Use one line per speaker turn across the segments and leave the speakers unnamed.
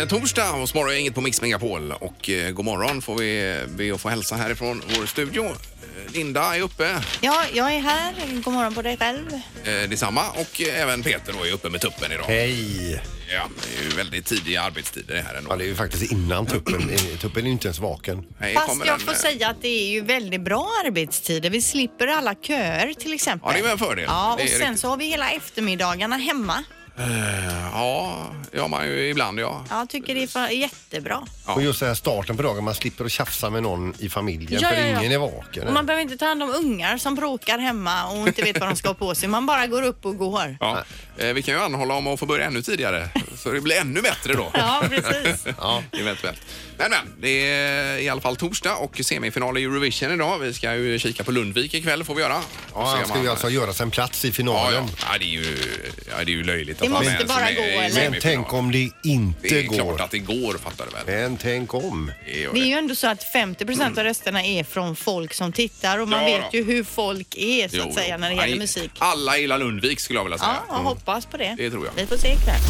Eh, torsdag hos Morgongänget på Mix Megapol. Och eh, god morgon får vi be att få hälsa härifrån vår studio. Eh, Linda är uppe,
Ja, jag är här. God morgon på dig själv.
eh, detsamma. Och eh, även Peter då är uppe med tuppen idag.
Hej!
Ja, det är ju väldigt tidiga arbetstider det här ändå.
Ja, det är ju faktiskt innan tuppen. Eh, Tuppen är ju inte ens vaken.
Här
Fast
kommer
jag
den,
får
eh,
säga att det är ju väldigt bra arbetstider. Vi slipper alla köer till exempel.
Ja, det är väl en fördel.
Ja, och
Det är
sen
riktigt.
så har vi hela eftermiddagarna hemma.
eh, Ja, det gör man ju ibland ja.
Jag tycker det är för, jättebra.
Ja.
Och just den här starten på dagen, man slipper att tjafsa med någon i familjen
Ja,
för
ja, ja.
ingen är vaken.
Och man behöver inte ta hand om ungar som bråkar hemma och inte vet vad de ska ha på sig. Man bara går upp och går.
Ja. Eh, vi kan ju anhålla om att få börja ännu tidigare så det blir ännu bättre då.
Ja, precis.
Ja. Eventuellt. Men, men, det är i alla fall torsdag och semifinal i Eurovision idag. Vi ska ju kika på Lundvik ikväll får vi göra.
Ja,
Och se
han
om
ska ju alltså göra sig en plats i
Ja,
finalen.
ja. ja, det är ju, ja, det är ju löjligt.
Det
man
måste
ens
bara
är
gå,
i
eller?
Men
semifinal.
tänk om det
Det
inte
är klart
går.
att det går, fattar du väl?
Men tänk om.
Det gör
Det är
det.
ju ändå så att 50 procent av rösterna är från folk som tittar och man
Ja,
vet
då.
ju hur folk är så
Jo,
att säga
jo.
när det
Nej,
gäller musik.
Alla gillar Lundvik skulle jag vilja säga.
Ja, jag hoppas på det.
Det tror jag.
Vi får se ikväll.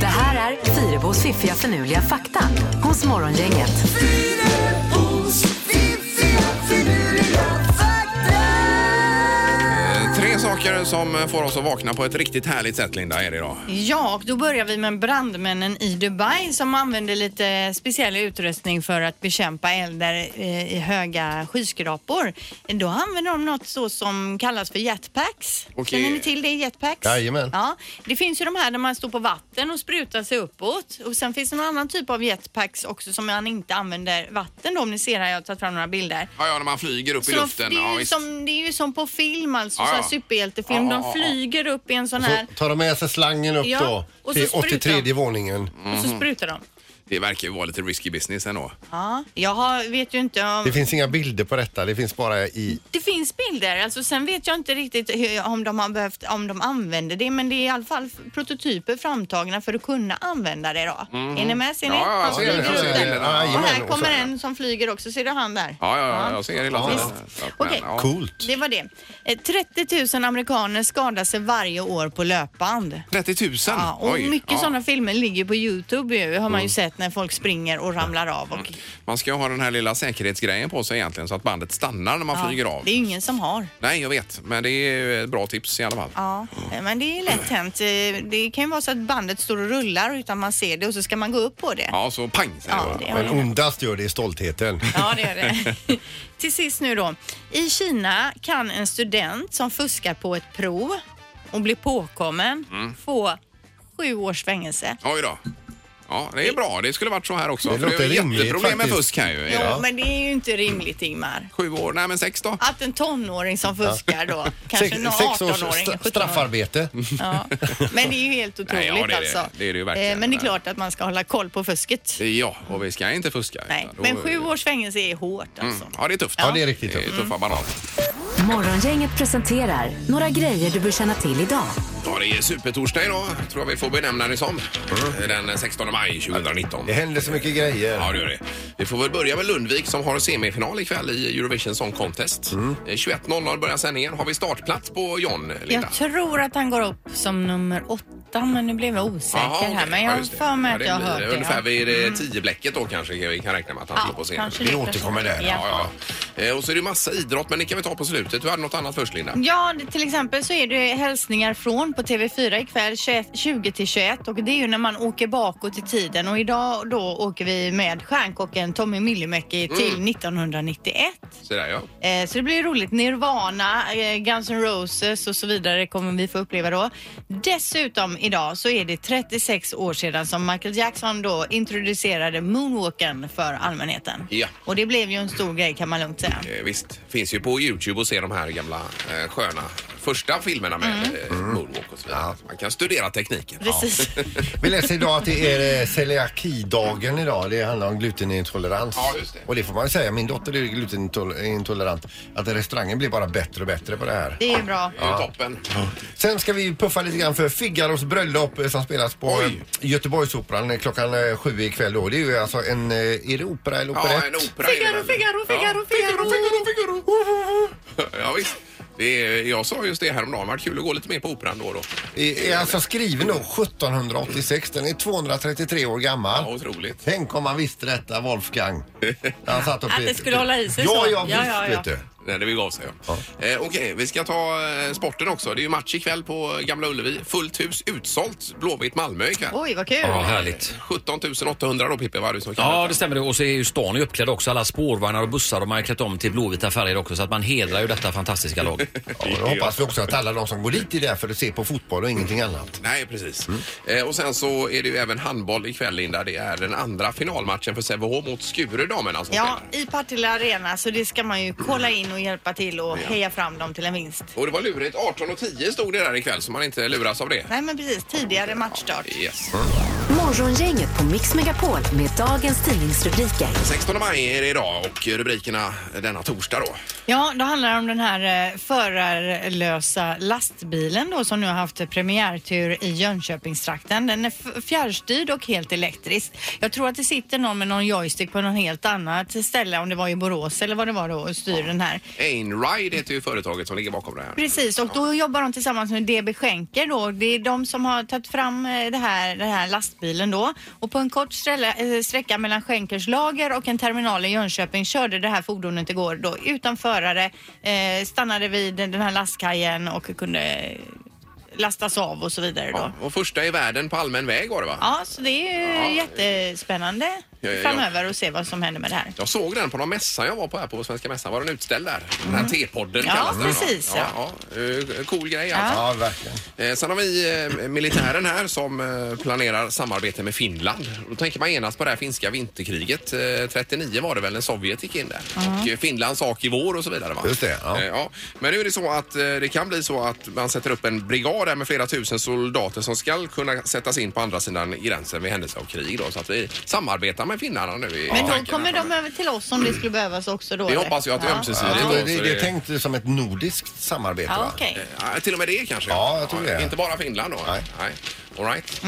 Det här är Fyrabos fiffiga förnuliga fakta hos Morgongänget.
Eh, Tre saker som får oss att vakna på ett riktigt härligt sätt, Linda, är det idag.
Ja, och då börjar vi med brandmännen i Dubai som använder lite speciell utrustning för att bekämpa eldar eh, i höga skyskrapor. Då använder de något så som kallas för jetpacks.
Okej.
Känner ni till det? Jetpacks?
Jajamän.
Ja, det finns ju de här där man står på vatten och sprutar sig uppåt. Och sen finns det en annan typ av jetpacks också som man inte använder vatten då, om ni ser här, jag har tagit fram några bilder.
Ja, ja, när man flyger upp i
Så
luften.
det, är
ja,
ju
visst. Ah,
som, det är ju som på film alltså,
Ja, Ah,
så här
ja.
superhjältefilm.
Ja, ja,
De
ja, ja.
flyger upp i en sån här
Så tar de med sig slangen upp
Ja,
då
och så
till
sprutar
83
de. Mm.
våningen.
och
Mhm.
så sprutar de.
Det verkar ju vara lite risky business ändå.
Ja, jag har, vet ju inte om...
Det finns inga bilder på detta, det finns bara i...
Det finns bilder, alltså, sen vet jag inte riktigt hur, om, de har behövt, om de använder det men det är i alla fall prototyper framtagna för att kunna använda det då. Är ni med? Ser ni?
Mhm. Ja, ja, jag
Han
ser det, jag
flyger
ser
upp
det.
där.
Ja,
Och
jajamän,
här
och så-
kommer en som flyger också, ser du han där?
Ja, ja, ja jag ser hela
Ja,
tiden.
visst.
Ja, men,
Okej.
ja.
Coolt!
Det var det. Eh, 30 000 amerikaner skadar sig varje år på löpband.
30 000?
Ja, och
Oj,
mycket
ja. Mm.
sådana filmer ligger på Youtube ju, har man ju sett när folk springer och ramlar av. Och,
Man ska ju ha den här lilla säkerhetsgrejen på sig egentligen så att bandet stannar när man flyger av.
Det är ju ingen som har.
Nej, jag vet. Men det är ju ett bra tips i alla fall.
Ja, men det är lätt hänt. Eh, Det kan ju vara så att bandet står och rullar utan man ser det och så ska man gå upp på det.
Ja, så pang säger
Ja,
jag.
det
Men
har
ondast gör det i stoltheten.
Ja, det är det. Till sist nu då. I Kina kan en student som fuskar på ett prov och blir påkommen
Mm.
få sju års fängelse.
Oj då. Ja, det är bra. Det skulle varit så här också.
Det
För Det,
låter
är ju
rimligt
jätteproblem med
faktiskt.
fusk här ju.
Jo,
Ja.
men det är ju inte rimligt Ingmar.
Sju år, nej men sex då.
Att en tonåring som fuskar då, kanske
Sex,
en
sex års
18-åring,
stra-
17-åring.
straffarbete.
Ja. Men det är ju helt otroligt
Nej, ja, det är det.
alltså.
Det är det ju verkligen.
Eh, Men det är klart att man ska hålla koll på fusket.
Ja, och vi ska inte fuska.
Nej,
utan då- Mm.
men sju års fängelse är hårt alltså.
Ja, det är tufft.
Ja, det är riktigt
Det är
tufft. Mm.
tuffa bananer.
Morgongänget presenterar några grejer du bör känna till idag.
Ja, det är supertorsdag idag, tror jag vi får benämna det som. Den 16 maj 2019.
Mm. Det händer så mycket grejer.
Ja, det gör det. Vi får väl börja med Lundvik som har semifinal ikväll i Eurovision Song Contest.
Mm.
Eh, 21.00 börjar sändningen. Har vi startplats på John, Linda?
Jag tror att han går upp som nummer åtta, men nu blev jag osäker
Jaha, okej.
här. Men jag
Ja,
har
just det.
för mig
Ja,
att
det
jag
blir
har hört det.
Ungefär
ja. Mm.
vid eh, tioblecket då kanske vi kan räkna med att han står på scenen.
kanske
Vi
det.
återkommer där.
Ja.
Ja, ja. Eh, Och så är det massa idrott, men det kan vi ta på slutet. Du hade något annat först, Linda?
Ja, det- till exempel så är det hälsningar från på TV4 ikväll 21, 20 till 21 och det är ju när man åker bakåt i tiden och idag då åker vi med stjärnkocken Tommy Myllymäki till
Mm.
1991.
Så där, ja.
Eh, så det blir roligt. Nirvana, eh, Guns N' Roses och så vidare kommer vi få uppleva då. Dessutom idag så är det 36 år sedan som Michael Jackson då introducerade moonwalken för allmänheten.
Ja.
Och det blev ju en stor grej kan man lugnt säga.
Eh, Visst, finns ju på Youtube att se de här gamla eh, sköna första filmerna med eh, Moonwalk och så vidare. Man kan studera tekniken.
Mm. Precis.
Vi läser idag att det är eh, celiakidagen idag. Det handlar om glutenintolerans.
Ja, just det.
Och det får man ju säga. Min dotter är glutenintolerant. Att restaurangen blir bara bättre och bättre på det här.
Det är bra.
Det är ju toppen.
Sen ska vi puffa lite grann för Figaros bröllop eh, som spelas på
Oj.
eh, Göteborgsoperan eh, klockan eh, sju ikväll. Då. Det är ju alltså en... eh, Är det opera eller
Ja,
operett?
en opera är det väl?
Figaro, Figaro, Figaro,
Ja.
Figaro.
Ja, visst. Det är, jag sa just det häromdagen, vart kul att gå lite mer på operan då och då.
I- Är alltså skriven då 1786. Den är 233 år gammal.
Ja, otroligt.
Tänk om man visste detta, Wolfgang. Han satt och
Att det
pet-
skulle hålla i sig
ja, Ja,
så. Ja,
visst,
ja, ja.
vet du.
När det begav sig. Ja. Eh, Okej, vi ska ta eh, sporten också. Det är ju match ikväll på Gamla Ullevi. Fullt hus utsålt. Blåvitt Malmö ikväll.
Oj, vad kul.
Ja, härligt.
17 800 då Pippi, var du som kan
Ja,
detta.
det stämmer. det. Och så är ju stan uppklädd också. Alla spårvagnar och bussar de har klätt om till blåvita färger också. Så att man hedrar ju detta fantastiska lag.
Ja, då hoppas vi också att alla de som går dit är där för att se på fotboll och ingenting annat.
Nej, precis. Eh, och sen så är det ju även handboll ikväll, Linda. Det är den andra finalmatchen för Sävehof mot Skure damerna som
Ja,
spelar.
i Partille Arena så det ska man ju kolla in och hjälpa till och heja fram dem till en vinst.
Och det var lurigt. 18.10 stod det där ikväll, så man inte luras av det.
Nej men precis, tidigare matchstart.
Yes.
Morgongänget på Mix Megapol med dagens tidningsrubriker.
16 maj är det idag och rubrikerna denna torsdag då.
Ja, då handlar det om den här eh, förarlösa lastbilen då som nu har haft premiärtur i Jönköpingstrakten. Den är f- fjärrstyrd och helt elektrisk. Jag tror att det sitter någon med någon joystick på någon helt annat ställe, om det var i Borås eller vad det var då, och styr den här.
Ainride heter ju företaget som ligger bakom det här.
Precis, och då jobbar de tillsammans med DB Schenker då. Det är de som har tagit fram eh, det här, den här lastbilen då. Och på en kort ställe, eh, sträcka mellan Schenkers lager och en terminal i Jönköping körde det här fordonet igår då utan förare, eh, stannade vid den här lastkajen och kunde eh, lastas av och så vidare då.
Ja, och första i världen på allmän väg var det va?
Ja, så det är ju
Ja.
jättespännande
Ja, ja, ja.
framöver att se vad som händer med det här.
Jag såg den på någon mässa jag var på här på Svenska mässan. Var den utställd där? Den här T-podden
Ja,
kallas den, va?
precis,
Ja, ja. Eh, Cool grej alltså.
Ja, verkligen.
Eh, Sen har vi eh, militären här som eh, planerar samarbete med Finland. Då tänker man genast på det här finska vinterkriget. Eh, 39 var det väl när Sovjet gick in där. Och eh, Finlands sak i vår och så vidare. Va?
Just det, ja.
Eh, ja. Men nu är det så att eh, det kan bli så att man sätter upp en brigad här med flera tusen soldater som ska kunna sättas in på andra sidan gränsen vid händelse av krig. Då. Så att vi samarbetar med finnarna nu. I
Men då
tanken
kommer
här
de över till oss om det skulle behövas också då.
Vi
eller?
hoppas ju att det är ömsesidigt.
Jag tror
Ja,
det, det,
så
det
det-
är tänkt som ett nordiskt samarbete.
Ja,
va?
okej.
Ja, till och med det kanske?
Ja, jag tror det.
Inte bara Finland då?
Nej.
All right.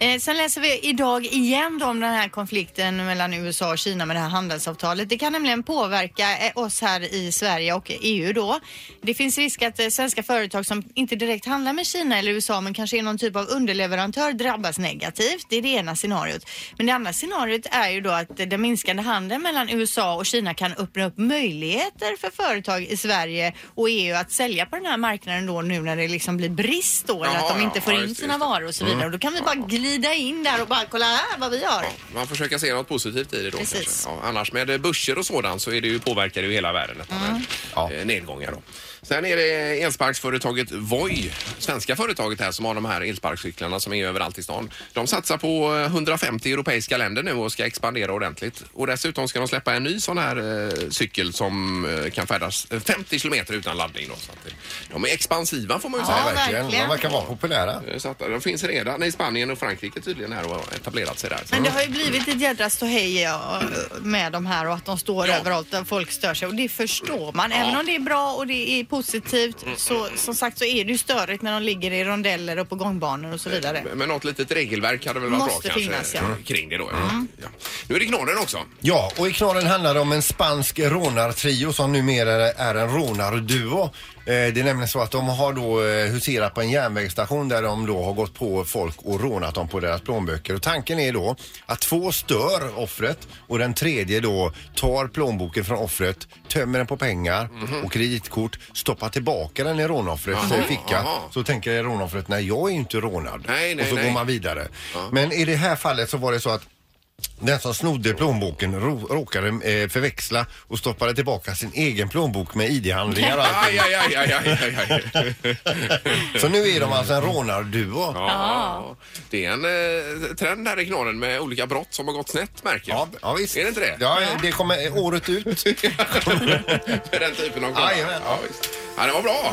Eh, sen läser vi idag igen då om den här konflikten mellan USA och Kina med det här handelsavtalet. Det kan nämligen påverka eh, oss här i Sverige och EU då. Det finns risk att eh, svenska företag som inte direkt handlar med Kina eller USA men kanske är någon typ av underleverantör drabbas negativt. Det är det ena scenariot. Men det andra scenariot är ju då att eh, den minskande handeln mellan USA och Kina kan öppna upp möjligheter för företag i Sverige och EU att sälja på den här marknaden då nu när det liksom blir brist då eller
Jaha,
att de inte
ja,
får
ja,
in
just det,
sina
just det.
varor och så vidare. Och då kan vi bara glida in där och bara kolla här vad vi har.
Ja, man försöker se något positivt i det då
Precis.
kanske. Ja, annars med eh, börser och sådant så är det ju, påverkar det ju hela världen detta
Mm.
med
Ja.
eh, nedgångar då. Sen är det elsparkföretaget Voi, svenska företaget här som har de här elsparkcyklarna som är överallt i stan. De satsar på eh, 150 europeiska länder nu och ska expandera ordentligt. Och dessutom ska de släppa en ny sån här eh, cykel som eh, kan färdas eh, 50 kilometer utan laddning då. Så att det- de är expansiva får man ju
Ja,
säga.
Ja, verkligen.
verkligen.
De verkar vara populära.
Så att de finns redan i Spanien och Frankrike tydligen här och har etablerat sig där. Så-
Men det har ju blivit ett jädra ståhej ja, med de här och att de står
Ja.
överallt och folk stör sig och det förstår man. Även om det är bra och det är positivt
Mm.
så som sagt så är det ju störigt när de ligger i rondeller och på gångbanor och så vidare.
Men något litet regelverk hade väl varit
Måste
bra kanske
finnas, ja. Mm.
eh, kring det då. ja. Ja. Nu är det knorren också.
Ja, och i knorren handlar det om en spansk rånartrio som numera är en rånarduo. Eh, Det är nämligen så att de har då eh, huserat på en järnvägsstation där de då har gått på folk och rånat dem på deras plånböcker. Och tanken är då att två stör offret och den tredje då tar plånboken från offret, tömmer den på pengar och kreditkort, stoppar tillbaka den i rånoffrets
Mhm. Jaha,
eh, ficka.
jaha.
Så tänker rånoffret, nej jag är ju inte rånad.
Nej, nej,
och så
nej.
går man vidare. Men i det här fallet så var det så att den som snodde plånboken ro- råkade eh, förväxla och stoppade tillbaka sin egen plånbok med ID-handlingar och allting.
Aj, aj, aj, aj, aj, aj, aj.
Så nu är de alltså en rånarduo.
Ja, ja. Det är en eh, trend här i knorren med olika brott som har gått snett märker jag.
Ja, ja visst.
Är det inte det?
Ja, det kommer eh, året ut.
För den typen av knorrar.
Jajamän.
ja, visst. ja, det var bra.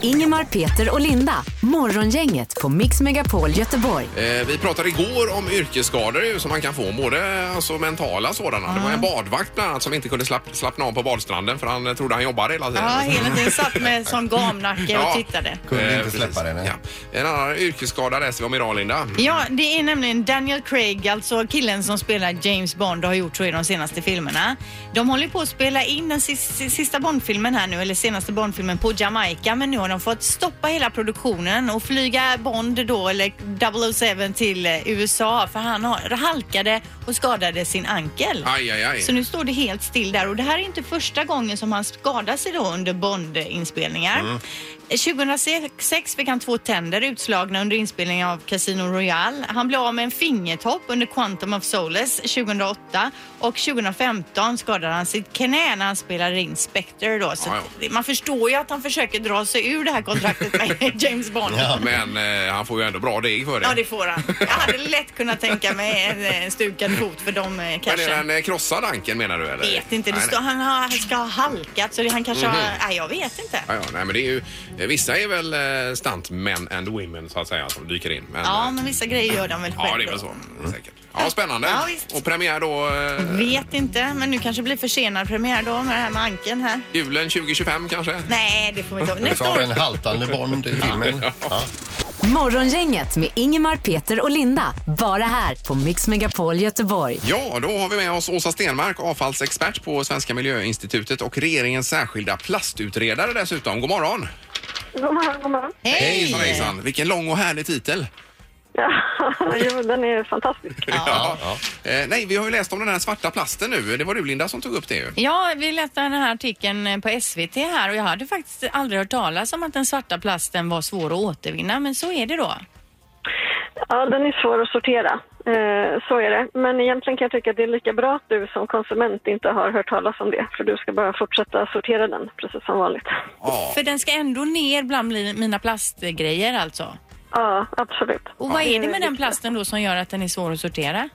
Ingemar, Peter och Linda. Morgongänget på Mix Megapol Göteborg.
Eh, vi pratade igår om yrkesskador ju, som man kan få, både alltså, mentala sådana. Det var en badvakt bland annat som inte kunde slapp, slappna av på badstranden för han eh, trodde han jobbade hela tiden.
Ja, hela tiden satt med sån gamnacke och
Ja.
tittade.
Kunde inte
Eh, precis.
släppa den, nej.
Ja. En annan yrkesskadad läser vi om idag, Linda.
Ja, det är nämligen Daniel Craig, alltså killen som spelar James Bond och har gjort så i de senaste filmerna. De håller på att spela in den sis- sista Bondfilmen här nu, eller senaste Bondfilmen på Jamaica, men nu har de fått stoppa hela produktionen och flyga Bond då, eller 007 till eh, USA, för han har, halkade och skadade sin ankel.
Aj, aj, aj.
Så nu står det helt still där och det här är inte första gången som han skadar sig då under Bond-inspelningar.
Mm.
2006 fick han två tänder utslagna under inspelningen av Casino Royale. Han blev av med en fingertopp under Quantum of Solace 2008 och 2015 skadade han sitt knä när han spelade in Spectre då. Så
Ja,
det- man förstår ju att han försöker dra sig ur det här kontraktet med James Bond. Ja.
Men eh, han får ju ändå bra deg för det.
det får han. Jag hade lätt kunnat tänka mig en eh, stukad fot för de eh,
Men
cashen.
är den eh, krossad ankeln menar du? Eller?
Jag vet inte. Det
Nej,
står,
nej.
han, har, han ska ha halkat så det, han kanske har... Nej, jag vet inte.
Mhm. Ja, ja, nej, men det är ju, eh, vissa är väl eh, stuntmen and women så att säga som dyker in. Men,
Ja,
eh,
men vissa grejer gör de väl
ja,
själv
det är väl
då.
så. Mm, Säkert. Ja, spännande.
Ja, visst.
Och premiär då eh,
Vet inte, men nu kanske det blir försenad premiär då med det här med anken här.
julen 2025 kanske?
Nej, det får vi
Mm.
inte.
Vi
Nästa
tar en
år.
haltande Bond i filmen. Ja.
Morgongänget med Ingemar, Peter och Linda. Bara här på Mix Megapol Göteborg.
Ja, då har vi med oss Åsa Stenmark, avfallsexpert på Svenska Miljöinstitutet och regeringens särskilda plastutredare dessutom. God morgon!
God morgon, god morgon.
Hejsan, hejsan! Vilken lång och härlig titel!
Ja, jo, den är fantastisk.
Ja. Eh, nej, vi har ju läst om den här svarta plasten nu. Det var du Linda som tog upp det ju.
Ja, vi läste den här artikeln på SVT här och jag hade faktiskt aldrig hört talas om att den svarta plasten var svår att återvinna, men så är det då.
Ja, den är svår att sortera. Eh, så är det. Men egentligen kan jag tycka att det är lika bra att du som konsument inte har hört talas om det. För du ska bara fortsätta sortera den, precis som vanligt.
Ja.
För den ska ändå ner bland mi- mina plastgrejer alltså.
Ja, absolut.
Och vad är det med
det
den plasten då som gör att den är svår att sortera?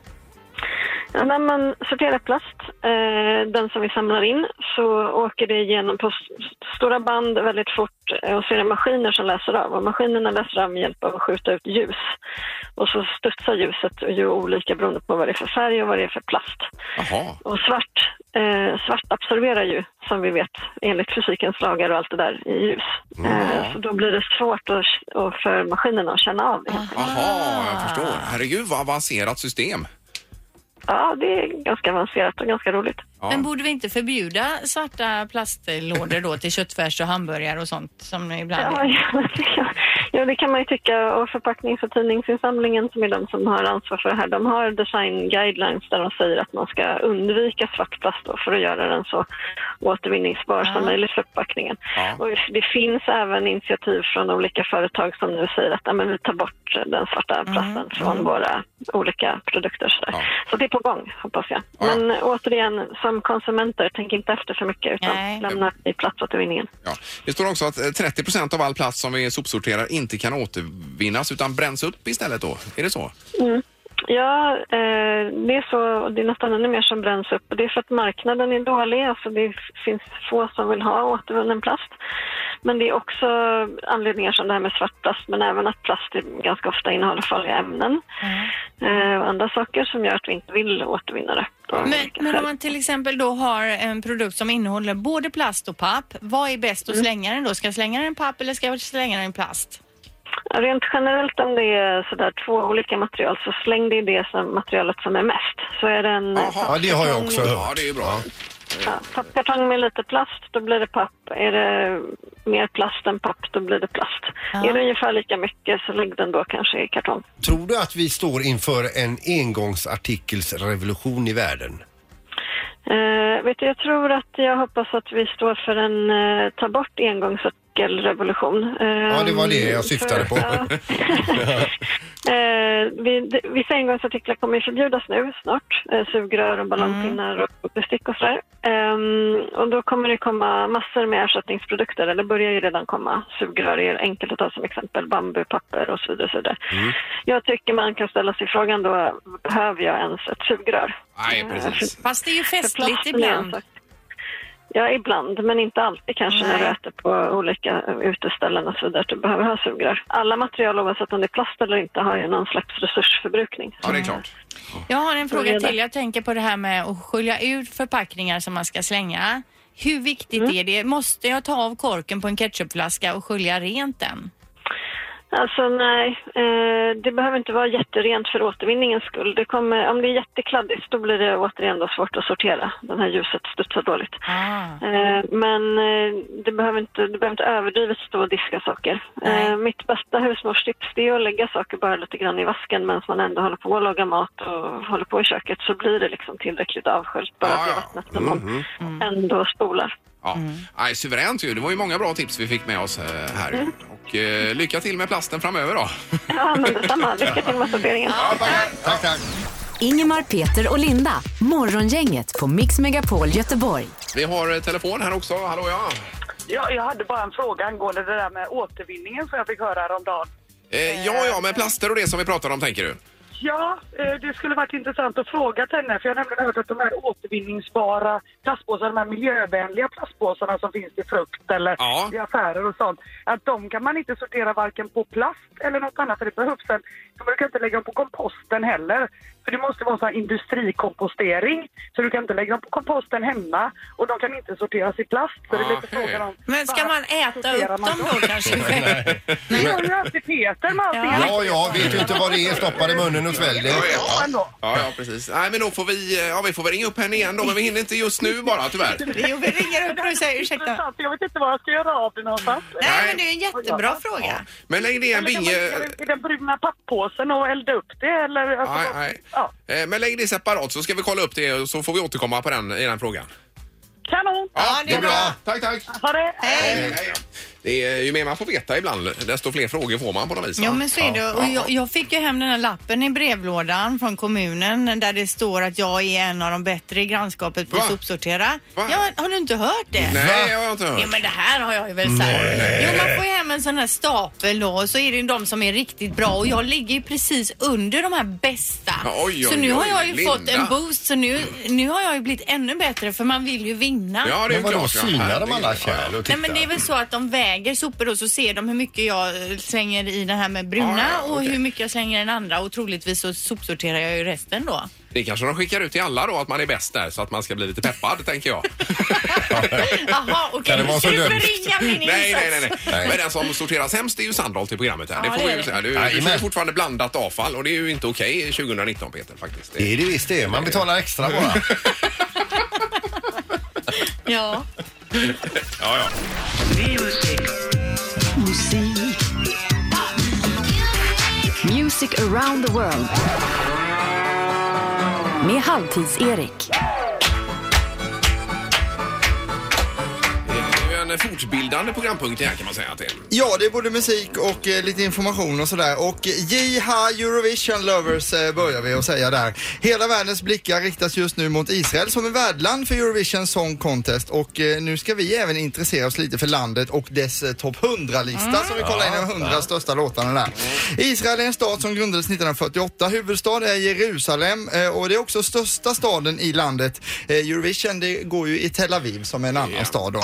Ja, när man sorterar plast, eh, den som vi samlar in, så åker det igenom på s- stora band väldigt fort eh, och så är det maskiner som läser av. Och maskinerna läser av med hjälp av att skjuta ut ljus. Och så studsar ljuset och gör olika beroende på vad det är för färg och vad det är för plast.
Jaha.
Och svart, eh, svart absorberar ju, som vi vet, enligt fysikens lagar och allt det där, i ljus. Eh, så då blir det svårt att, och för maskinerna att känna av det.
Jaha, jag förstår. Herregud, vad avancerat system.
Ja, det är ganska avancerat och ganska roligt.
Ja.
Men borde vi inte förbjuda svarta plastlådor då till köttfärs och hamburgare och sånt som ibland
Ja,
är?
ja, det kan- ja, det kan man ju tycka. Och förpacknings och tidningsinsamlingen som är de som har ansvar för det här, de har design guidelines där de säger att man ska undvika svart plast då för att göra den så återvinningsbar som möjligt för förpackningen.
Ja.
Och det finns även initiativ från olika företag som nu säger att "Ja, men vi tar bort den svarta plasten från våra olika produkter. Så, där.
Mm. Ja.
så det är på gång, hoppas jag.
Ja.
Men återigen, som konsumenter, tänk inte efter för mycket utan
Nej.
lämna i platsåtervinningen.
Ja. Det står också att eh, 30 procent av all plast som vi sopsorterar inte kan återvinnas utan bränns upp istället då. Är det så?
Ja, eh, det är så. och Det är nästan ännu mer som bränns upp. Och Det är för att marknaden är dålig. Alltså det finns få som vill ha återvunnen plast. Men det är också anledningar som det här med svart plast, men även att plast är- ganska ofta innehåller farliga ämnen eh, och andra saker som gör att vi inte vill återvinna det. Då av
Mm. Men,
olika
men
skäl.
om man till exempel då har en produkt som innehåller både plast och papp, vad är bäst att slänga den då? Ska jag slänga den i papp eller ska jag slänga den i plast?
Rent generellt om det är sådär två olika material så släng det i det som, materialet som är mest. Så är det en
Ja, det har jag också
Ja,
hört.
det är ju bra.
Ja, pappkartong med lite plast, då blir det papp. Är det mer plast än papp, då blir det plast. Är det ungefär lika mycket så lägg den då kanske i kartong.
Tror du att vi står inför en engångsartikelsrevolution i världen?
Eh, vet du, jag tror att jag hoppas att vi står för en eh, ta bort engångsartikelrevolution. Eh, ja,
det var det jag syftade på.
Eh, vi, d- vissa engångsartiklar kommer ju förbjudas nu snart. Eh, sugrör och ballongpinnar
Mm.
och bestick och sådär. Ehm, och då kommer det komma massor med ersättningsprodukter. Eller börjar ju redan komma. Sugrör är enkelt att ta som exempel. Bambupapper och så vidare. och Så vidare.
Mm.
Jag tycker man kan ställa sig frågan då, behöver jag ens ett sugrör? Eh,
Nej, precis.
Fast det är ju
För
festligt
plasten är en
ibland.
sak. Ja, ibland, men inte alltid kanske när du
Nej.
äter på olika eh, uteställen och så vidare. att Du behöver ha sugrör. Alla material, oavsett om det är plast eller inte, har ju någon slags resursförbrukning.
Ja, det är klart.
Jag har en
är
fråga
det.
till. Jag tänker på det här med att skölja ut förpackningar som man ska slänga. Hur viktigt är det? Måste jag ta av korken på en ketchupflaska och skölja rent den?
Alltså nej, eh, det behöver inte vara jätterent för återvinningens skull. Det kommer, om det är jättekladdigt då blir det återigen då svårt att sortera. Den här ljuset studsar dåligt.
Ah.
Eh, men eh, det behöver inte, det behöver inte överdrivet stå och diska saker.
Nej.
Eh, mitt bästa husmorstips det är att lägga saker bara lite grann i vasken medan man ändå håller på att laga mat och håller på i köket så blir det liksom tillräckligt avsköljt bara
Ja,
det
ja.
vattnet som
Mm-hmm.
man ändå spolar.
Ja. Nej, suveränt ju. Det var ju många bra tips vi fick med oss eh, här. Och eh, lycka till med plasten framöver då.
Ja, men detsamma. Lycka till med sorteringen.
Tack, tack.
Ingemar, Peter och Linda. Morgongänget på Mix Megapol Göteborg.
Vi har eh, telefon här också. Hallå ja.
Ja, jag hade bara en fråga angående det där med återvinningen som jag fick höra häromdagen.
Eh, ja, ja, med plaster och det som vi pratar om tänker du.
Ja, eh, det skulle varit intressant att fråga till henne för jag har nämligen hört att de här återvinningsbara plastpåsarna, de här miljövänliga plastpåsarna som finns i frukt eller
Ja.
i affärer och sånt, att de kan man inte sortera varken på plast eller något annat för det behövs sen. De brukar inte lägga dem på komposten heller för det måste vara så här industrikompostering så du kan inte lägga dem på komposten hemma och de kan inte sorteras i plast så det är lite
Aha.
frågan om...
Men ska man äta
sorterar
upp
man
dem
dem?
då kanske?
Det gör ju alltid Peter med allting.
Ja,
Ja.
ja, vet du inte vad det är? Stoppa det i munnen och svälj det.
Ja, ändå.
Ja, ja, precis. Nej, men då får vi, eh, ja, vi får väl ringa upp henne igen då, men vi hinner inte just nu bara tyvärr.
Jo, vi ringer upp och säger ursäkta.
Intressant. Jag vet inte vad jag ska göra av det någonstans.
Nej, men det är en jättebra fråga.
Men lägg det i en
Eller kan man
binge...
lägga det I den bruna papppåsen och elda upp det eller? Alltså,
Nej,
vad-
nej.
Ja.
Eh, Men lägg det separat så ska vi kolla upp det och så får vi återkomma på den, i den frågan.
Kanon!
Ja, det är bra.
Tack, tack.
Ha det!
Eh,
Hej, Eh, hej. Det är ju mer man får veta ibland, desto fler frågor får man på något vis. va?
Ja men så är det. Och jag, jag fick ju hem den här lappen i brevlådan från kommunen där det står att jag är en av de bättre i grannskapet på
Va?
att sopsortera.
Va?
Ja, har du inte hört det?
Nej, jag har inte hört.
Ja, men det här har jag ju väl sagt. Jo, man får ju hem en sån här stapel då och så är det ju de som är riktigt bra och jag ligger ju precis under de här bästa.
Ja, oj,
så
oj,
nu har
oj,
jag ju
Linda.
fått en boost så nu, nu har jag ju blivit ännu bättre för man vill ju vinna.
Ja, det är
Men
ju
vadå,
klart. ja.
synar de alla
Herregud.
kärl och
Nej men det är
tittar?
väl så att de väger sopor och så ser de hur mycket jag eh, slänger i den här med bruna
Ah, Ja, ja,
och
okej.
hur mycket jag slänger i den andra och troligtvis så sopsorterar jag ju resten då.
Det kanske de skickar ut till alla då, att man är bäst där, så att man ska bli lite peppad, tänker jag.
Jaha, okej.
Kan det vara
Ska
så
du
dumt?
förringa
nej,
min
nej,
insats?
nej, nej. Men den som sorteras hemskt är ju Sandholt i programmet här.
Ja,
det får
det
vi ju
är det.
säga. Du, du
Jajamän.
kör ju fortfarande blandat avfall och det är ju inte okej 2019, Peter, faktiskt.
Det är det visst det. Man betalar extra bara.
Ja.
Ja, ja.
Music around the world. Med Halvtids-Erik.
Det är ju en fortbildande programpunkt det här kan man säga att det är.
Ja, det är både musik och eh, lite information och sådär. Och Jiha Eurovision Lovers eh, börjar vi att säga där. Hela världens blickar riktas just nu mot Israel som är värdland för Eurovision Song Contest. Och eh, nu ska vi även intressera oss lite för landet och dess eh, topp 100-lista. Så vi kollar in de 100 största låtarna där. Israel är en stat som grundades 1948. Huvudstad är Jerusalem eh, och det är också största staden i landet. Eh, Eurovision det går ju i Tel Aviv som är en annan stad då.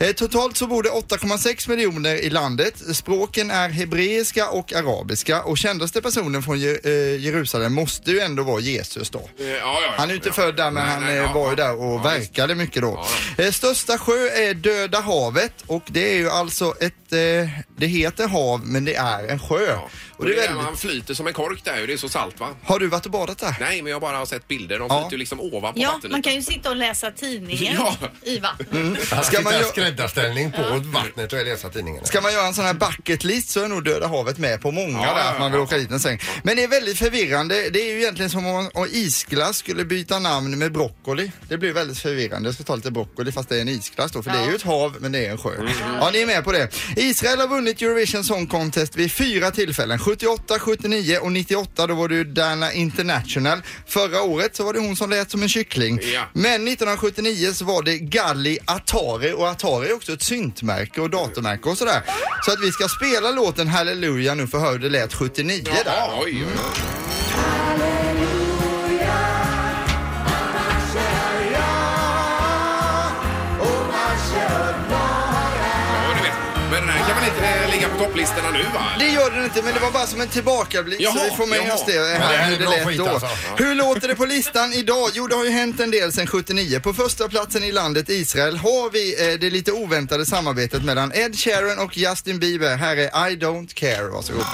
Eh, Totalt så bor det 8,6 miljoner i landet. Språken är hebreiska och arabiska och kändaste personen från Je- eh, Jerusalem måste ju ändå vara Jesus då.
Eh, Ja, ja, ja.
Han är ju inte
ja.
född där men
Nej,
han
nej,
eh,
ja,
var ju
ja.
där och
Ja, visst.
verkade mycket då. Eh, Största sjö är Döda havet och det är ju alltså ett, eh, det heter hav men det är en sjö.
Ja.
Och det är
där
väldigt...
Han flyter som en kork där ju. Det är så salt va?
Har du varit och badat där?
Nej, men jag bara har sett bilder. De
Ja.
flyter ju liksom ovanpå
ja,
vattenytan.
man kan ju sitta och läsa tidningen
Ja.
i vattnet.
Han
Ska man
sitter i
gö-
skräddarställning på vattnet och läsa tidningen.
Ska man göra en sån här bucket list så är nog Döda havet med på många
Ja,
där,
ja,
att man vill
ja.
åka dit en sväng. Men det är väldigt förvirrande. Det är ju egentligen som om om isglass skulle byta namn med broccoli. Det blir väldigt förvirrande. Jag ska ta lite broccoli fast det är en isglass då, för det är ju ett hav men det är en sjö.
Mm.
Ja, ni är med på det. Israel har vunnit Eurovision Song Contest vid fyra tillfällen. 78, 79 och 98 då var det ju Dana International. Förra året så var det hon som lät som en kyckling.
Ja.
Men 1979 så var det Galli Atari och Atari är också ett syntmärke och datormärke och sådär. Så att vi ska spela låten Halleluja nu för hör hur det lät 79 där.
Ja, oj, oj, oj.
Och
väl inte eh, ligga på topplistorna nu va?
Det gör den inte, men det var bara som en tillbakablick
Jaha,
så vi får med
jaha.
oss det här
Men det här är
hur det
bra
lät
skit,
då.
alltså.
Hur låter det på listan idag? Jo, det har ju hänt en del sedan 79. På första platsen i landet Israel har vi eh, det lite oväntade samarbetet mellan Ed Sheeran och Justin Bieber. Här är I Don't Care. Varsågoda.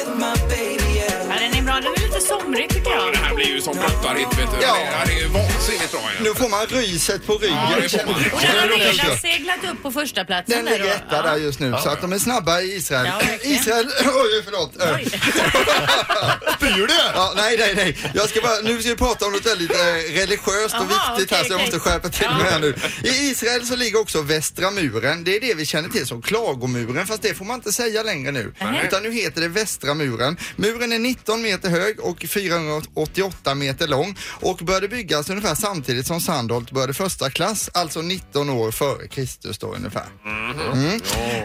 Ja, den är bra. Den är lite somrig tycker
Ja,
jag.
det här blir ju som brottarhit vet du.
Ja.
Det här är ju vansinnigt bra
Nu
ju.
får man ryset på ryggen.
Ja, det får man.
Och den har
Känner du?
redan seglat upp på första platsen
Den
där
ligger
då.
etta
alltså.
där just nu, så att de är snabba i Israel.
Ja, verkligen.
Israel, oj förlåt. Spyr du? Ja, nej, nej, nej. Jag ska bara, nu ska vi prata om något väldigt eh, religiöst och
Aha,
viktigt här
okej,
så jag
okej.
måste skärpa till mig här nu. I Israel så ligger också Västra muren. Det är det vi känner till som Klagomuren, fast det får man inte säga längre nu.
Nej.
Utan nu heter det Västra muren. Muren är 19 meter hög och 488 meter lång och började byggas ungefär samtidigt som Sandholt började första klass, alltså 19 år före Kristus då ungefär.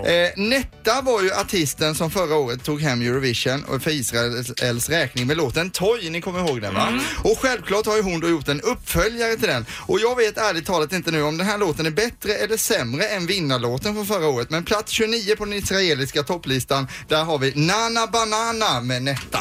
Eh, Netta var ju artisten som förra året tog hem Eurovision och för Israels räkning med låten Toy, ni kommer ihåg den va?
Mm.
Och självklart har ju hon då gjort en uppföljare till den. Och jag vet ärligt talat inte nu om den här låten är bättre eller sämre än vinnarlåten från förra året. Men plats 29 på den israeliska topplistan, där har vi Nana Banana med Netta.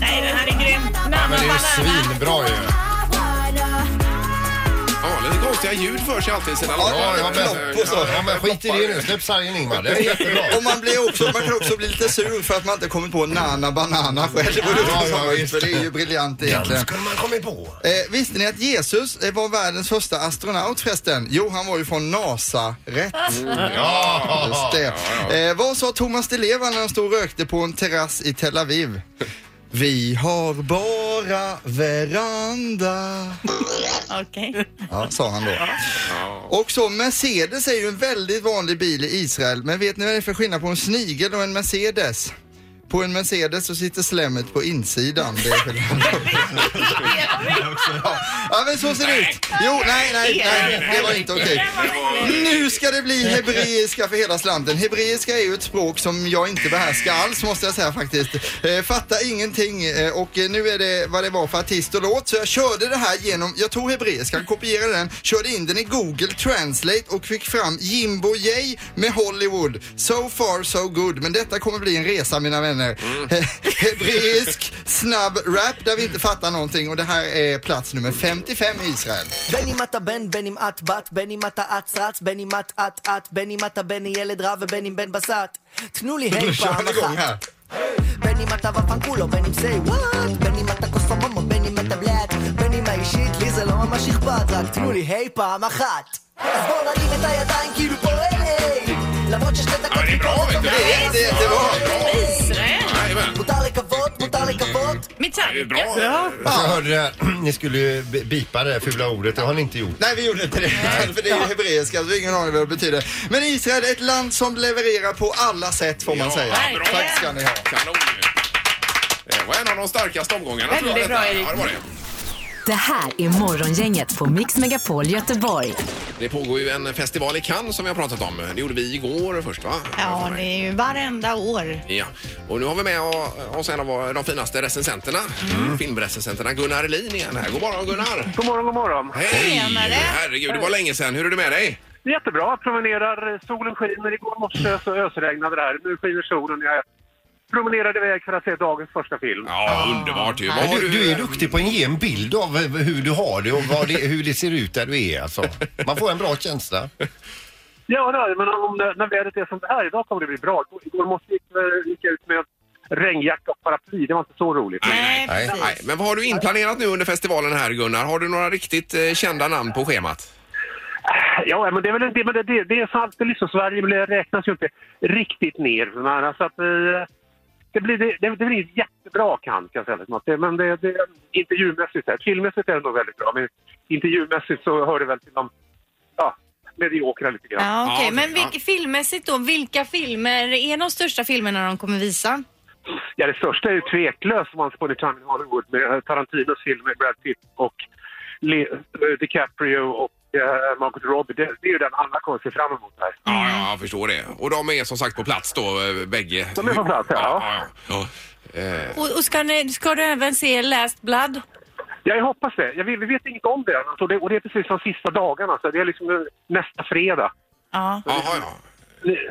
Nej, den här är grym.
Ja,
Nanna
men det är ju
Banana.
svinbra ju.
Ja, lite konstiga ljud för sig alltid i sina
Ja,
låtar.
ja,
Klopp och
men,
så.
ja, men skit i det nu. Släpp sargen Ingmar. Det är jättebra.
Och man, blir också, man kan också bli lite sur för att man inte kommer på Nana Banana själv.
ja, visst.
för det är ju briljant
Den
egentligen.
skulle man kommit på.
Eh, visste ni att Jesus eh, var världens första astronaut förresten? Jo, han var ju från Nasaret.
Ja,
Just det. Eh, vad sa Thomas Di Leva när han stod och rökte på en terrass i Tel Aviv? Vi har bara veranda.
Okej.
Ja, sa han då. Och så Mercedes är ju en väldigt vanlig bil i Israel. Men vet ni vad det är för skillnad på en snigel och en Mercedes? På en Mercedes så sitter slemmet på insidan. Det är skillnaden. ja. ja, men så ser det ut. Jo, nej, nej, nej, det var inte okej. Nu ska det bli hebreiska för hela slanten. Hebreiska är ju ett språk som jag inte behärskar alls måste jag säga faktiskt. Eh, fattar ingenting eh, och eh, nu är det vad det var för artist och låt så jag körde det här genom, jag tog hebreiskan, kopierade den, körde in den i Google Translate och fick fram Jimbo J med Hollywood. So far so good. Men detta kommer bli en resa mina vänner. He- Hebreisk snabb rap där vi inte fattar någonting och det här är plats nummer 55 i Israel.
בין אם אתה בן, בין אם את בת, בין אם אתה אץ רץ, בין אם את את את, בין אם אתה בן ילד רע ובין אם בן בסט. תנו לי
Nu
היי
kör
לא
פעם
vi igång
אחת.
här.
בין אם אתה בפנקולו, בין אם say what, בין אם אתה כוס המומו, בין אם אתה בלאט, בין אם האישית, לי זה לא ממש אכפת, רק תנו לי היי פעם אחת. אז בוא נרים את הידיים כאילו פה היי, למרות ששתי דקות...
אבל אם לא,
מפה זה
אתה
גם
יודע,
Det är
היי.
jätte, jättebra.
Israel.
Jajamän.
מותר לקוות, מותר לקוות.
Det är
Metallica.
bra. eh,
Alltså, jag hörde det här. Ni skulle ju bi- bipa det här fula ordet. Det har ni inte gjort.
Nej, vi gjorde inte det. För det är ju hebreiska, så vi har ingen aning vad det betyder. Men Israel är ett land som levererar på alla sätt, får man
Ja,
säga.
verkligen.
Tack ska ni ha.
Kanon ju. Det var en av de starkaste omgångarna tror jag.
Väldigt bra,
detta.
Erik.
Ja, det var det.
Det här är Morgongänget på Mix Megapol Göteborg.
Det pågår ju en festival i Cannes som vi har pratat om. Det gjorde vi igår först va?
Ja, det är ju varenda år.
Ja, och nu har vi med oss en av de finaste recensenterna, filmrecensenterna, Gunnar Elin igen här. God morgon Gunnar!
God morgon, god morgon.
Hej!
Tjenare.
Herregud, det var länge sedan. Hur är det med dig?
Jättebra, promenerar, eh, solen skiner. Igår morse så ösregnade det här. Nu skiner solen. Jag promenerade iväg för att se dagens första film.
Ja, underbart ju. Vad
Men
har
du, du är duktig på att ge en bild av eh, hur du har det och vad det, hur det ser ut där du är alltså. Man får en bra känsla.
Ja, nej, men om det, när vädret är som det är idag kommer det bli bra. Igår morse gick, eh, gick jag ut med regnjacka och paraply. Det var inte så roligt.
Nej,
nej,
precis.
Nej, men vad har du inplanerat nu under festivalen här Gunnar? Har du några riktigt eh, kända namn på schemat?
Ja, men det är väl en del, men det, det, det är så alltid liksom. Sverige blir- räknas ju inte riktigt ner. Men alltså att, eh, det blir, det, det blir inget jättebra kan jag säga. liksom att det- Men det, det, intervjumässigt, här. filmmässigt är det nog väldigt bra. Men intervjumässigt så hör det väl till de ja, mediokra lite grann.
Ja, okej. Men vil- filmmässigt då, vilka filmer är de största filmerna de kommer visa?
Ja, det största är ju tveklöst Once upon a time in Hollywood med eh, Tarantinos film med Brad Pitt och Le- eh, DiCaprio och eh, Margot Robbie. Det, det är ju den alla kommer se fram emot här.
Ja, ja, jag förstår det. Och de är som sagt på plats då, eh, bägge.
De är på plats, ja.
ja. ja. Eh,
Och, och ska, ni, ska du även se Last Blood?
Jag hoppas det. Jag, vet- vi vet inget om det än. Och det, och det är precis som sista dagarna. Så det är liksom eh, nästa fredag.
Ja.
Jaha, ja.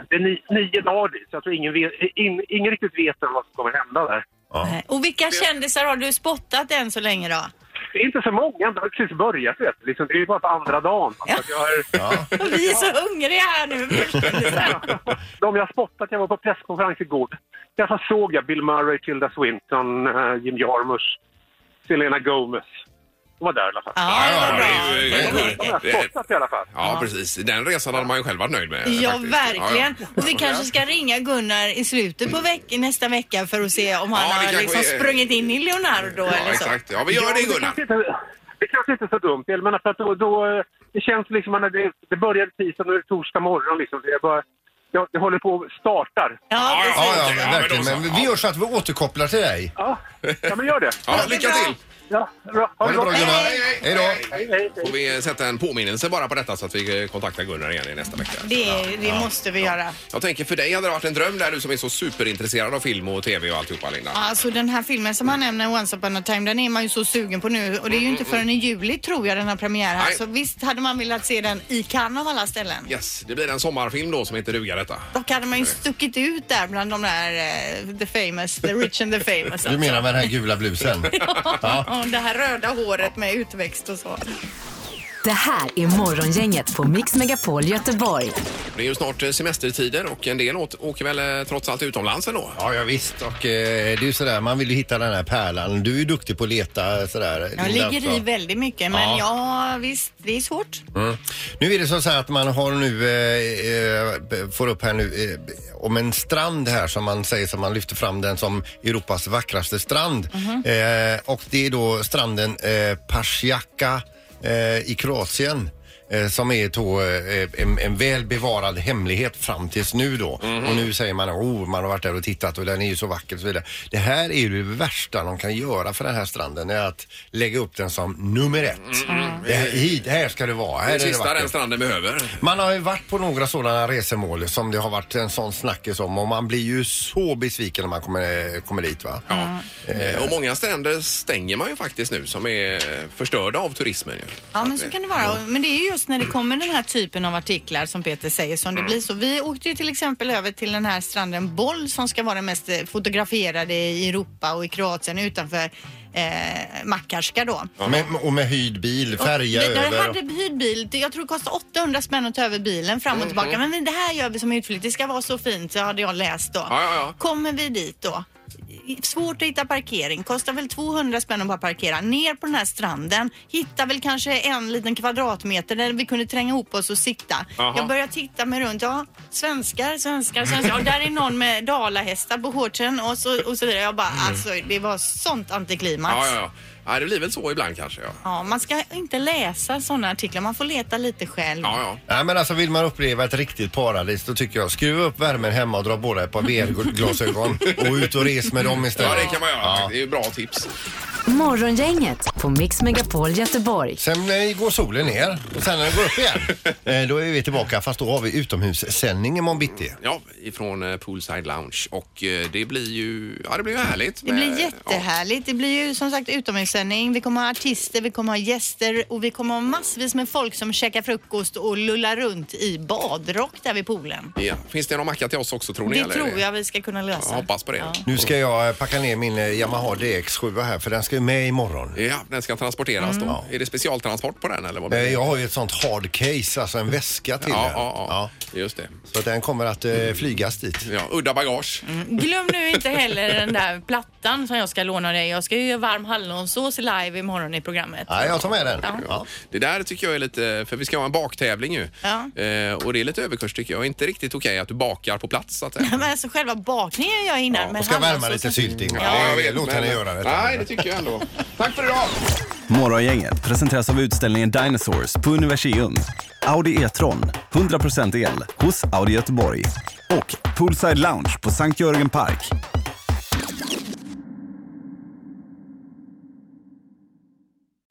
Det är ni, nio dagar dit, så jag tror ingen, vet, in, ingen riktigt vet än vad som kommer hända där.
Och vilka kändisar har du spottat än så länge då?
Det är inte så många, det har precis börjat. Vet. du. Liksom, det är ju bara på andra dagen. Så att jag är,
Och vi är så hungriga här nu.
De jag spottat, jag var på presskonferens igår. Där så såg jag Bill Murray, Tilda Swinton, eh, Jim Jarmusch, Selena Gomez. De var där i alla fall.
Ja, det var
Ja, det
bra.
är ju-
De har jag spottat i alla fall.
Ja, precis. Den resan hade man ju själv varit nöjd med.
Ja,
faktiskt.
verkligen.
Ja, ja.
Och vi kanske ska ringa Gunnar i slutet på veck nästa vecka för att se om han
Ja, det
har
kanske
liksom
är-
sprungit in i
Ja,
Leonardo eller så.
exakt. Ja, vi gör det Gunnar.
kanske inte- Det kanske inte är så dumt, jag menar för att då, då, eh, det känns liksom att det, det började tisdag och nu är det torsdag morgon liksom. Det, är bara, jag, det håller på och startar.
Ja, precis.
Ja, ja,
Ja,
men
men
verkligen.
då så.
Men vi gör så att vi återkopplar till dig.
Ja, ja men gör det.
Ja, lycka till!
Ja, bra.
Ha det bra Gunnar.
Hej, hej,
Hej då.
Hej, hej, hej.
Får vi sätta en påminnelse bara på detta så att vi eh, kontaktar Gunnar igen i nästa vecka.
Det, det måste vi göra.
Jag tänker för dig hade det varit en dröm där du som är så superintresserad av film och tv och alltihopa Linda.
Alltså den här filmen som han nämner, Once upon a time, den är man ju så sugen på nu och det är ju inte förrän i juli tror jag den har premiär här.
Nej.
Så visst hade man velat se den i Cannes av alla ställen.
Yes, det blir en sommarfilm då som inte dugar detta.
Dock hade man ju stuckit ut där bland de där eh, the famous, the rich and the famous.
Du menar med den här gula blusen?
Ja, det här röda håret med utväxt och så.
Det här är Morgongänget på Mix Megapol Göteborg.
Det är ju snart eh, semestertider och en del åt, åker väl eh, trots allt utomlands ändå.
Ja, ja visst. Och eh, det är ju sådär, man vill ju hitta den här pärlan. Du är ju duktig på att leta sådär.
Jag
Linda,
ligger
också.
i väldigt mycket, men ja. visst, det är svårt.
Mm. Nu är det så så här att man har nu, eh, eh, får upp här nu, eh, om en strand här som man säger som man lyfter fram den som Europas vackraste strand. eh, och det är då stranden eh, Pasjaka eh, i Kroatien. eh, Som är då eh, en, en väl bevarad hemlighet fram tills nu då. Och nu säger man oh, man har varit där och tittat och den är ju så vacker och så vidare. Det här är ju det värsta de kan göra för den här stranden. är att lägga upp den som nummer ett. Det här, hit, här ska det vara. Här
Det
är det
sista den
vackert.
stranden behöver.
Man har ju varit på några sådana resemål som det har varit en sån snackis om och man blir ju så besviken när man kommer, kommer dit va.
Ja. Eh, Och många stränder stänger man ju faktiskt nu som är eh, förstörda av turismen. ju.
Ja, men så kan det vara. Men det är ju just när det kommer den här typen av artiklar som Peter säger som det blir så. Vi åkte ju till exempel över till den här stranden Boll som ska vara den mest eh, fotograferade i Europa och i Kroatien utanför eh, Makarska då.
Med, och med hyrd bil, färja
Vi- Där
över.
hade vi hyrd bil. Det- Jag tror det kostade 800 spänn att ta över bilen fram
Mhm.
och tillbaka. Men det här gör vi som utflykt. Det ska vara så fint, så hade jag läst då.
Ja, ja, ja.
Kommer vi dit då? i- Svårt att hitta parkering. Kostar väl 200 spänn att bara parkera. Ner på den här stranden. Hittar väl kanske en liten kvadratmeter där vi kunde tränga ihop oss och sitta.
Jaha.
Jag börjar titta mig runt. Ja, svenskar, svenskar, svenskar. Och där är någon med dalahästar på shortsen och så, och så vidare. Jag bara, alltså det var sånt antiklimax.
Mm. Ja, ja, ja. Nej, det blir väl så ibland kanske. Ja,
Ja, man ska inte läsa sådana artiklar. Man får leta lite själv.
ja. ja.
Nej men alltså vill man uppleva ett riktigt paradis då tycker jag skruva upp värmen hemma och dra på dig ett par VR-glasögon och ut och res med dem
Ja,
istället.
det kan man göra. Det är ju bra tips.
Morgongänget på Mix Megapol Göteborg.
Sen eh, går solen ner och sen när den går upp igen eh, då är vi tillbaka fast då har vi utomhussändning imorgon bitti.
Ja, ifrån eh, Poolside Lounge. Och eh, det blir ju, ja det blir ju härligt.
Det blir jättehärligt. Det blir ju som sagt utomhussändning. Vi kommer ha artister, vi kommer ha gäster och vi kommer ha massvis med folk som käkar frukost och lullar runt i badrock där vid poolen.
Ja. Ja. Finns det någon macka till oss också tror ni?
Det
eller?
tror jag vi ska kunna lösa.
Jag hoppas på det. Ja.
Ja.
Nu ska jag eh, packa ner min eh, Yamaha DX7 här för den ska ju med imorgon.
den ska transporteras då.
Mm.
Är det specialtransport på den eller? Vad blir
Eh,
det?
Jag har ju ett sånt hard case, alltså en väska till
Ja,
den.
ja, ja, just det.
Så att den kommer att eh, flygas dit.
Ja, udda bagage.
Glöm nu inte heller den där plattan som jag ska låna dig. Jag ska ju göra varm hallonsås live imorgon i programmet.
Nej, jag tar med den.
Ja.
Ja.
Det där tycker jag är lite, för vi ska ha en baktävling ju.
Ja.
Eh, och det är lite överkurs tycker jag. Inte riktigt okej att du bakar på plats så att säga.
Men alltså själva bakningen gör jag innan. men
Och ska värma
hallonsåsen-
lite sylting.
Ja,
Ja,
jag vet,
Låt
men-
henne göra det.
Nej, det tycker jag ändå. Tack för idag!
Morgongänget presenteras av utställningen Dinosaurs på Universium. Audi e-tron, 100% el, hos Audi Göteborg. Och Poolside Lounge på Sankt Jörgen Park.